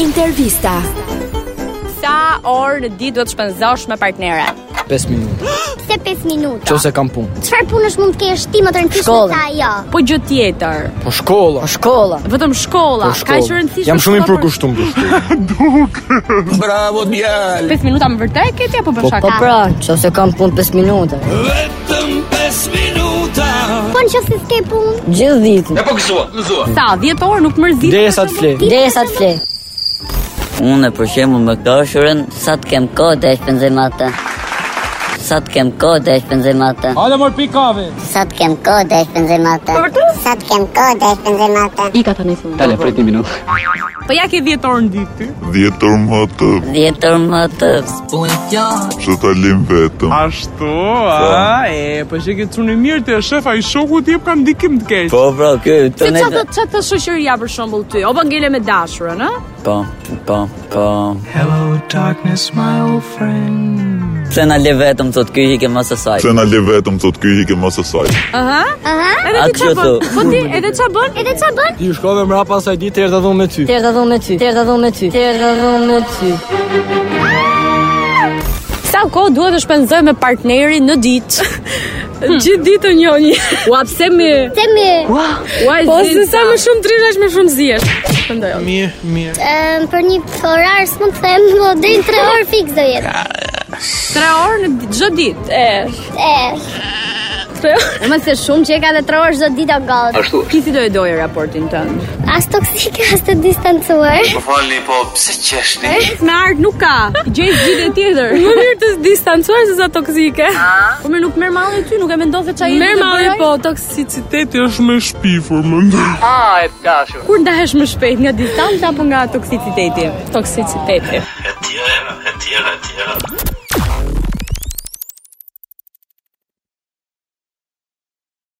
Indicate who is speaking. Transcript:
Speaker 1: Intervista.
Speaker 2: Sa orë në ditë duhet shpenzosh me partnere?
Speaker 3: 5 minuta.
Speaker 4: Se 5 minuta.
Speaker 3: Qose kam punë.
Speaker 4: Çfarë punësh mund të kesh ti më të rëndësishme
Speaker 1: Shkollën.
Speaker 4: se ajo?
Speaker 2: Po gjë tjetër,
Speaker 3: Po shkolla.
Speaker 1: Shkolla.
Speaker 2: vetëm shkolla,
Speaker 3: Po
Speaker 2: ka që rëndësishme.
Speaker 3: Jam shumë i
Speaker 2: shkolla për-
Speaker 3: përkushtuar për shkollë.
Speaker 5: Bravo djal
Speaker 2: 5 minuta më vërtet ke ti apo për shaka?
Speaker 1: Po pra, qose kam punë 5 minuta.
Speaker 5: Vetëm 5 minuta
Speaker 4: Po në qoftë se s'ke punë,
Speaker 1: Gjithë ditën.
Speaker 5: E po gëzua, gëzua
Speaker 2: Sa 10 orë nuk mërzitet.
Speaker 3: Derisa të flet.
Speaker 1: Derisa të flet.
Speaker 6: Unë për shembull me dashurën sa të kem kohë të shpenzoj me atë. Sa të kem kohë të shpenzoj me atë.
Speaker 7: Hajde mor pi kave.
Speaker 4: Sa të kem kohë dhe shpenzoj me atë. Sa të kem kohë dhe shpenzoj me atë.
Speaker 5: Dale, prit një minutë
Speaker 2: Po ja ke 10 orë në ditë. ty.
Speaker 8: Djetër më të,
Speaker 6: Djetër më të.
Speaker 8: që ta lim vetëm.
Speaker 7: Ashtu, a, e, po që ke çuni mirë ti shefa i shokut jep ka ndikim të keq.
Speaker 6: Po pra, ky
Speaker 2: Se
Speaker 6: të ne.
Speaker 2: çfarë të çfarë të shoqëria për shembull ty? Opa ngele me dashurën, ë?
Speaker 6: Po, po, po.
Speaker 7: Hello darkness my old friend.
Speaker 6: Pse na le vetëm thot ky i ke më së saj.
Speaker 8: Pse na le vetëm thot ky i ke mos asaj.
Speaker 2: Aha.
Speaker 4: Aha.
Speaker 2: Edhe
Speaker 6: A
Speaker 2: ti
Speaker 6: kështu
Speaker 2: çfarë bën?
Speaker 6: thë?
Speaker 2: Po ti edhe çfarë bën?
Speaker 4: Edhe çfarë bën?
Speaker 3: Ti shkove mrapa asaj ditë erdha dhon me ty.
Speaker 1: Tërë dhon me ty. Tërë dhon me ty. Tërë dhon me ty.
Speaker 2: Sa kohë duhet të shpenzoj me partnerin në ditë? Gjithë ditën njëri. Ua pse me
Speaker 4: Se mi,
Speaker 2: Ua Po se sa më shumë trishash më shumë zihesh. Mendoj.
Speaker 7: Mirë, mirë.
Speaker 4: ëm, për një orar s'mund të them, po deri në 3 orë fiks do jetë.
Speaker 2: 3 orë në ditë, çdo ditë. E,
Speaker 4: E,
Speaker 2: 3 orë.
Speaker 4: më se shumë që e ka dhe 3 orë çdo ditë o gallë.
Speaker 5: Ashtu
Speaker 2: Ti si do e doje raportin tënd?
Speaker 4: As toksik, as të distancuar.
Speaker 5: Më falni, po pse qeshni?
Speaker 2: Me art nuk ka. Gjej gjithë tjetër. Më mirë të distancuar se sa toksike. Po më nuk merr malli ty, nuk e mendon se çfarë. Merr malli po,
Speaker 7: Toksiciteti është më i shpifur më ndër.
Speaker 5: Ah, e të dashur
Speaker 2: kur ndahesh më shpejt nga distanca apo nga toksiciteti? Toksiciteti.
Speaker 5: E tjera, e tjera, e tjera